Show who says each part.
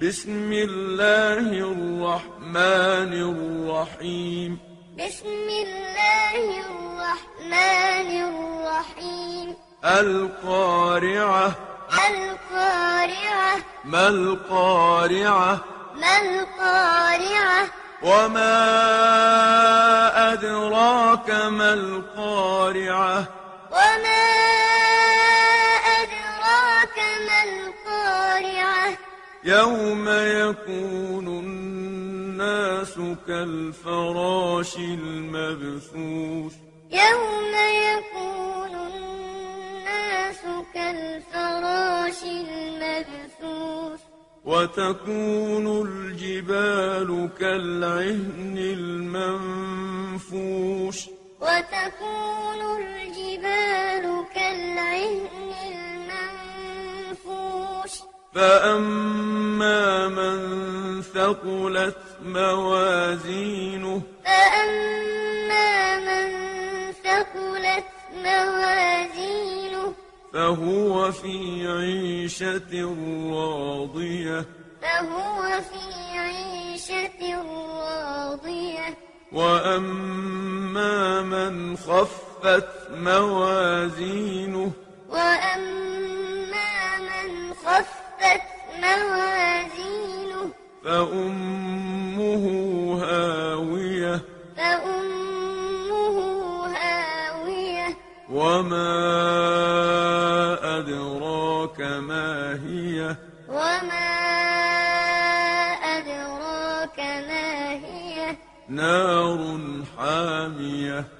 Speaker 1: بسم الله الرحمن الرحيم
Speaker 2: بسم الله الرحمن الرحيم
Speaker 1: القارعة
Speaker 2: القارعة
Speaker 1: ما القارعة
Speaker 2: ما القارعة
Speaker 1: وما أدراك ما القارعة
Speaker 2: وما أدراك ما القارعة
Speaker 1: يوم يكون الناس كالفراش المبثوث
Speaker 2: يوم يكون الناس كالفراش المبثوث
Speaker 1: وتكون الجبال كالعهن المنفوش
Speaker 2: وتكون الجبال كالعهن المنفوش
Speaker 1: فأما من ثقلت موازينه
Speaker 2: فأما من ثقلت موازينه
Speaker 1: فهو في عيشة راضية
Speaker 2: فهو في عيشة راضية
Speaker 1: وأما من خفت موازينه
Speaker 2: وأما من خفت موازينه
Speaker 1: فأمه هاوية
Speaker 2: فأمه هاوية
Speaker 1: وما أدراك ما هي
Speaker 2: وما أدراك ما هي
Speaker 1: نار حامية